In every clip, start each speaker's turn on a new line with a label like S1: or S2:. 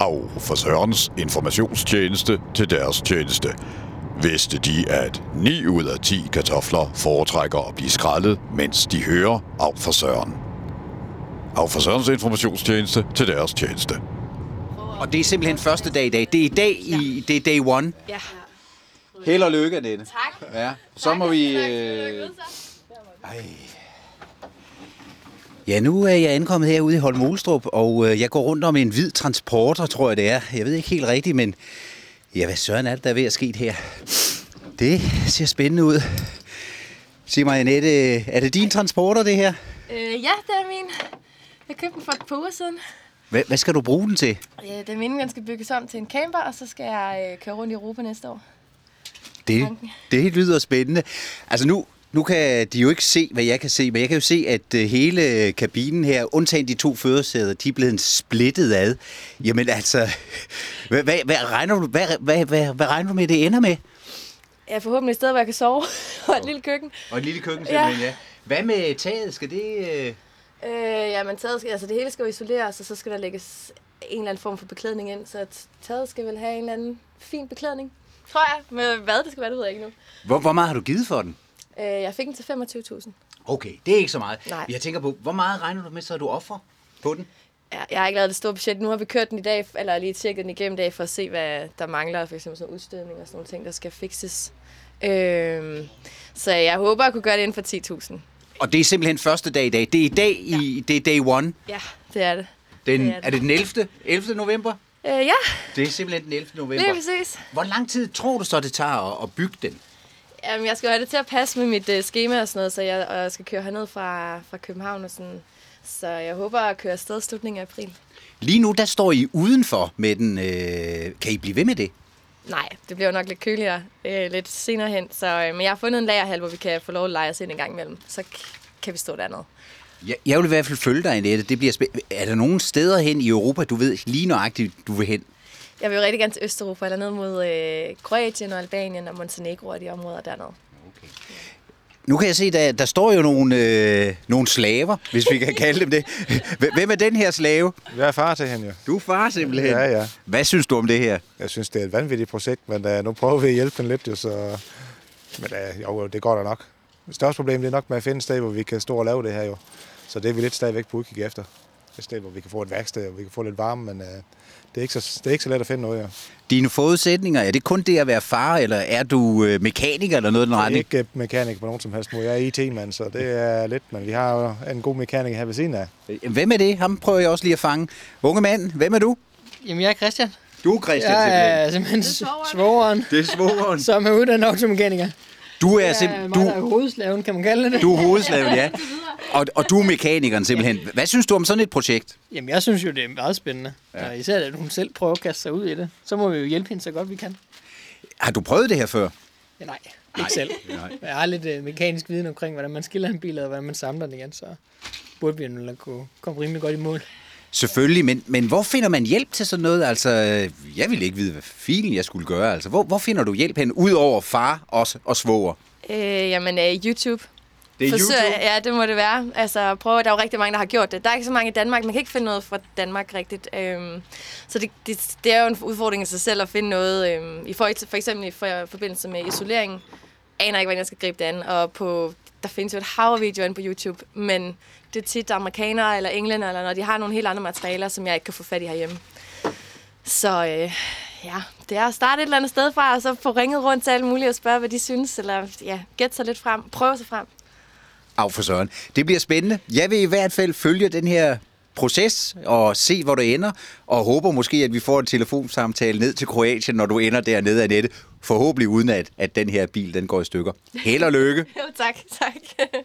S1: og frisørens informationstjeneste til deres tjeneste. Vidste de, at 9 ud af 10 kartofler foretrækker at blive skrællet, mens de hører af frisøren. Af frisørens informationstjeneste til deres tjeneste.
S2: Og det er simpelthen første dag i dag. Det er i dag, i, det er day one.
S3: Ja.
S2: Held og lykke, Annette.
S3: Tak.
S2: Ja, så må vi... Øh... Ej. Ja, nu er jeg ankommet herude i Holm Olstrup, og øh, jeg går rundt om en hvid transporter, tror jeg det er. Jeg ved ikke helt rigtigt, men ja, hvad søren er det, der er ved at ske her? Det ser spændende ud. Sig mig, Annette, øh, er det din transporter, det her?
S3: Øh, ja, det er min. Jeg købte den for et par uger siden.
S2: Hvad, hvad skal du bruge den til?
S3: Øh, det er meningen, den skal bygges om til en camper, og så skal jeg øh, køre rundt i Europa næste år.
S2: Det,
S3: Tanken.
S2: det lyder spændende. Altså nu, nu kan de jo ikke se, hvad jeg kan se, men jeg kan jo se, at øh, hele kabinen her, undtagen de to førersæder, de er blevet splittet ad. Jamen altså, hvad, hvad, hvad, regner, du, hvad, hvad, hvad, hvad regner du med, det ender med?
S3: Jeg forhåbentlig et sted, hvor jeg kan sove, og et lille køkken.
S2: Og et lille køkken
S3: simpelthen,
S2: ja. Hvad med taget? Skal det...
S3: Øh, ja, men taget skal, altså det hele skal jo isoleres, og så skal der lægges en eller anden form for beklædning ind, så at taget skal vel have en eller anden fin beklædning. Tror jeg, med hvad det skal være, det ved jeg ikke nu.
S2: Hvor, hvor meget har du givet for den?
S3: Øh, jeg fik den til 25.000.
S2: Okay, det er ikke så meget.
S3: Nej.
S2: Jeg tænker på, hvor meget regner du med, så du offer på den?
S3: Ja, jeg har ikke lavet det store budget. Nu har vi kørt den i dag, eller lige tjekket den igennem i dag, for at se, hvad der mangler. For eksempel sådan udstødning og sådan nogle ting, der skal fikses. Øhm, så jeg håber, at kunne gøre det inden for 10.000.
S2: Og det er simpelthen første dag i dag. Det er i dag, i, det er day one.
S3: Ja, det er det.
S2: Den,
S3: Det
S2: er,
S3: er
S2: det.
S3: det.
S2: er det den 11. 11. november?
S3: Øh, ja,
S2: Det er simpelthen den 11. november.
S3: lige præcis.
S2: Hvor lang tid tror du så, det tager at, at bygge den?
S3: Jamen, jeg skal jo have det til at passe med mit øh, schema og sådan noget, så jeg, og jeg skal køre herned fra, fra København og sådan. Så jeg håber at køre afsted slutningen af april.
S2: Lige nu, der står I udenfor med den. Øh, kan I blive ved med det?
S3: Nej, det bliver jo nok lidt køligere øh, lidt senere hen. Så, øh, men jeg har fundet en lagerhal, hvor vi kan få lov at lege os ind en gang imellem. Så k- kan vi stå dernede.
S2: Jeg, jeg vil i hvert fald følge dig, Annette. Det bliver spæ- er der nogen steder hen i Europa, du ved lige nøjagtigt, du vil hen?
S3: Jeg vil jo rigtig gerne til Østeuropa, eller ned mod øh, Kroatien og Albanien og Montenegro og de områder dernede.
S2: Nu kan jeg se, der, der står jo nogle, øh, nogle slaver, hvis vi kan kalde dem det. H- Hvem er den her slave?
S4: Jeg er far til hende jo.
S2: Du er far simpelthen.
S4: Ja, ja.
S2: Hvad synes du om det her?
S4: Jeg synes, det er et vanvittigt projekt, men uh, nu prøver vi at hjælpe hende lidt jo, så... Men uh, jo, det går da nok. Det største problem det er nok med at finde et sted, hvor vi kan stå og lave det her jo. Så det er vi lidt stadigvæk på udkig efter. Et sted, hvor vi kan få et værksted, og vi kan få lidt varme, men uh, det, er ikke så, det er ikke så let at finde noget jo.
S2: Dine forudsætninger, er det kun det at være far, eller er du øh, mekaniker eller noget i den
S4: Jeg er
S2: retning?
S4: ikke øh, mekaniker på nogen som helst måde. Jeg er IT-mand, så det er lidt, men vi har jo en god mekaniker her ved siden af.
S2: Hvem er det? Ham prøver jeg også lige at fange. Unge mand, hvem er du?
S5: Jamen, jeg er Christian.
S2: Du er Christian
S5: jeg er simpelthen svogeren,
S2: Det er svoren.
S5: som er uddannet automekaniker.
S2: Du er,
S5: Jeg er
S2: simpelthen...
S5: mig, der er
S2: Du,
S5: hovedslaven, kan man kalde det
S2: du er hovedslaven, ja. Og, og du er mekanikeren simpelthen. Hvad synes du om sådan et projekt?
S5: Jamen, jeg synes jo, det er meget spændende. Ja. Og især, at hun selv prøver at kaste sig ud i det. Så må vi jo hjælpe hende så godt, vi kan.
S2: Har du prøvet det her før?
S5: Ja, nej, ikke selv. Nej. Jeg har lidt øh, mekanisk viden omkring, hvordan man skiller en bil, og hvordan man samler den igen, så burde vi jo kunne komme rimelig godt i mål.
S2: Selvfølgelig, men, men hvor finder man hjælp til sådan noget? Altså, øh, jeg ville ikke vide, hvad filen jeg skulle gøre. Altså, hvor, hvor finder du hjælp hen, udover far og, s- og svoger?
S3: Øh, jamen, øh, YouTube.
S2: Det er
S3: Forsøg-
S2: YouTube.
S3: Ja, det må det være. Altså, prøv, der er jo rigtig mange, der har gjort det. Der er ikke så mange i Danmark. Man kan ikke finde noget fra Danmark rigtigt. Øhm, så det, det, det er jo en udfordring i sig selv at finde noget. Øhm, i for, for eksempel i for, forbindelse med isolering. Aner ikke, hvordan jeg skal gribe det an. Og på, der findes jo et hav af videoer inde på YouTube. Men det er tit amerikanere eller englænder, eller når de har nogle helt andre materialer, som jeg ikke kan få fat i herhjemme. Så øh, ja, det er at starte et eller andet sted fra, og så få ringet rundt til alle mulige og spørge, hvad de synes, eller ja, gætte sig lidt frem, prøve sig frem.
S2: Af for søren. Det bliver spændende. Jeg vil i hvert fald følge den her proces og se, hvor det ender, og håber måske, at vi får en telefonsamtale ned til Kroatien, når du ender dernede, Annette. Forhåbentlig uden at, at den her bil den går i stykker. Held og lykke.
S3: Jo, tak, tak. ja, ja.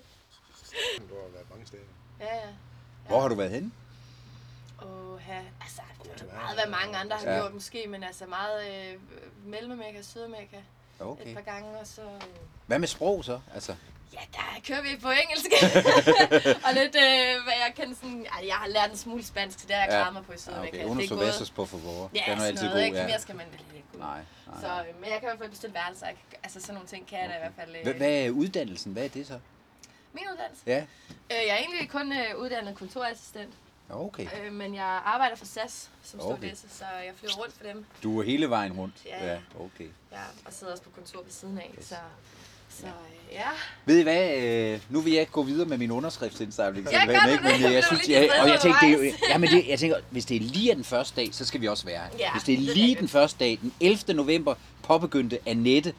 S2: Hvor har du været henne?
S3: Åh, altså, det er meget, hvad mange andre har
S2: Ja.
S3: ja. gjort måske, men altså meget øh, Mellemamerika, Sydamerika okay. et par gange, og så... Øh,
S2: Hvad med sprog så? Altså.
S3: Ja, der kører vi på engelsk. og lidt, øh, hvad jeg kan sådan... Ej, jeg har lært en smule spansk, så det har jeg klaret mig på i
S2: ah,
S3: Sydamerika. det er gået...
S2: på for vore.
S3: Ja, sådan noget, ikke? Mere skal man vel ikke kunne.
S2: Nej, nej.
S3: Så, øh, men jeg kan i hvert fald bestille værelser. Jeg kan, altså sådan nogle ting kan jeg da i hvert fald. Øh,
S2: er uddannelsen? Hvad er det så?
S3: Min uddannelse?
S2: Ja.
S3: Øh, jeg er egentlig kun øh, uddannet kontorassistent.
S2: Okay.
S3: Øh, men jeg arbejder for SAS som
S2: Okay.
S3: okay. studie, så jeg flyver rundt for dem.
S2: Du er hele vejen rundt?
S3: Ja.
S2: okay.
S3: Ja, og sidder også på kontor ved siden af, så... Så øh, ja.
S2: Ved I hvad, øh, nu vil jeg ikke gå videre med min underskriftsindsamling.
S3: Ja, gør
S2: men,
S3: du det?
S2: men
S3: Jeg
S2: jeg
S3: blev
S2: synes,
S3: lidt
S2: jeg, og jeg tænkte, det er jo,
S3: undervejs.
S2: ja, men det, jeg tænker, hvis det er lige er den første dag, så skal vi også være her.
S3: Ja,
S2: hvis det er
S3: det er
S2: lige
S3: rigtigt.
S2: den første dag, den 11. november, påbegyndte Annette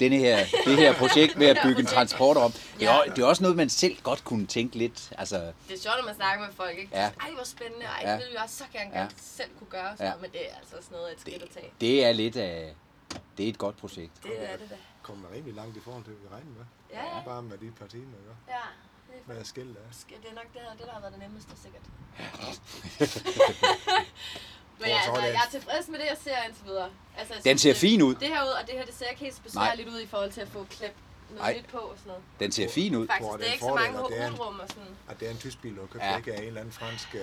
S2: denne her, det her projekt med at bygge en transporter om. Det er, jo- det er også noget, man selv godt kunne tænke lidt. Altså,
S3: Det er sjovt, når man snakker med folk, ikke?
S2: Ja.
S3: Ej, hvor spændende, og
S2: Ja.
S3: ej, det ville jeg også så gerne
S2: Ja.
S3: ja. selv kunne gøre, og sådan
S2: Ja.
S3: noget, men det er altså også noget af et skridt at tage.
S2: det er lidt af... Det er et godt projekt.
S3: Det er det da.
S4: Kommer rimelig langt i forhold til, hvad vi regner med.
S3: Ja, ja.
S4: Bare med de par timer, ikke?
S3: Ja, det er
S4: Med at skille det af.
S3: faktisk- det er nok det, her, det der har været det nemmeste, sikkert.
S4: Tror,
S3: men ja,
S4: så er
S3: altså,
S4: det-
S3: jeg er tilfreds med det, jeg ser indtil videre. Altså, jeg
S2: Den
S3: synes,
S2: ser
S3: det-
S2: fin ud.
S3: Det her ud, og det her, det ser ikke helt besværligt ud i forhold til at få klemt noget
S2: Nej.
S3: nyt på og sådan noget.
S2: Den ser fin ud.
S3: Faktisk,
S4: tror,
S3: det
S4: det
S3: er
S4: er
S3: ikke
S4: en
S3: så
S4: fordel,
S3: mange
S4: at det er en-
S3: hulrum og sådan.
S4: At det er en tysk bil, og købt
S2: Ja.
S4: ja. ikke af en eller anden fransk... Øh,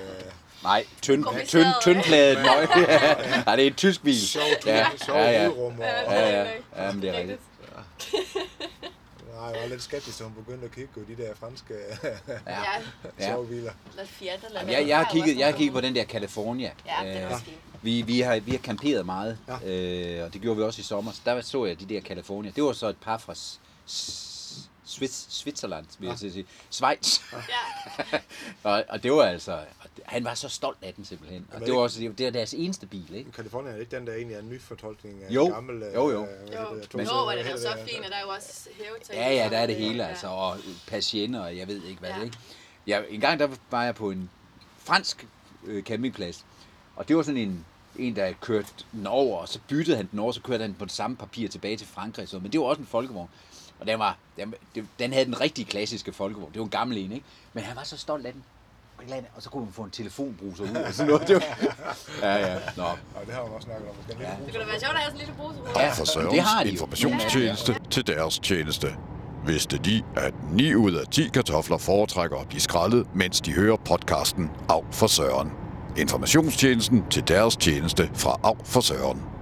S2: Nej, tynd,
S3: Kompliceret,
S2: tynd,
S3: ikke?
S2: tyndpladet nøje. Nej, det er en tysk bil.
S4: sjov,
S2: Ja,
S4: sjov
S2: ja, ja.
S4: udrum, og
S2: Ja, ja. Ja, men det er rigtigt.
S4: nej, jeg var lidt skeptisk, da hun begyndte at kigge på de der franske
S3: Ja,
S2: Ja. Ja.
S4: sjove biler.
S3: lad Fiat eller
S2: Jamen, Jeg, jeg, har kigget, jeg har kigget på den der California.
S3: Ja, den er
S2: Øh,
S3: også fin.
S2: vi, vi, har, vi har camperet meget, øh, og det gjorde vi også i sommer. Så der så jeg de der California. Det var så et par fra S- S- Swiss, Switzerland, vil jeg til at sige. Schweiz.
S3: Ja,
S2: og, og det var altså... og det- Han var så stolt af den simpelthen. Og
S4: Jamen,
S2: det var
S4: ikke-
S2: også det var deres eneste bil, ikke?
S4: Californien er det ikke den, der egentlig er en ny fortolkning af
S2: Jo.
S4: en gammel... øh,
S2: Jo, jo.
S4: hvad hedder
S3: jo.
S4: det,
S3: Men,
S4: to-
S3: jo, og den er jo så
S4: hedder det,
S3: fin, og der er jo også hævetag.
S2: Ja, ja, der er det hele, altså, og patienter, og jeg ved ikke hvad, ja.
S3: Ja.
S2: ikke? Ja, en gang der var jeg på en fransk øh, campingplads, og det var sådan en, en der kørte den over, og så byttede han den over, så kørte han den på det samme papir tilbage til Frankrig, så, men det var også en folkevogn. Og den, var, den, det- den havde den rigtig klassiske folkevogn. Det var en gammel en, ikke? Men han var så stolt af den. Og et eller andet- Og så kunne man få en telefonbruser ud og sådan noget. Det var... Ja, ja. Nå.
S4: Og det har man også snakket om. Måske ja.
S3: Det kunne da være sjovt at have sådan en lille bruse
S2: Ja.
S1: Op for Sørens
S2: det har de jo.
S1: informationstjeneste til deres tjeneste. Vidste de, at 9 ud af 10 kartofler foretrækker at blive skrællet, mens de hører podcasten Af for Søren. Informationstjenesten til deres tjeneste fra Af for Søren.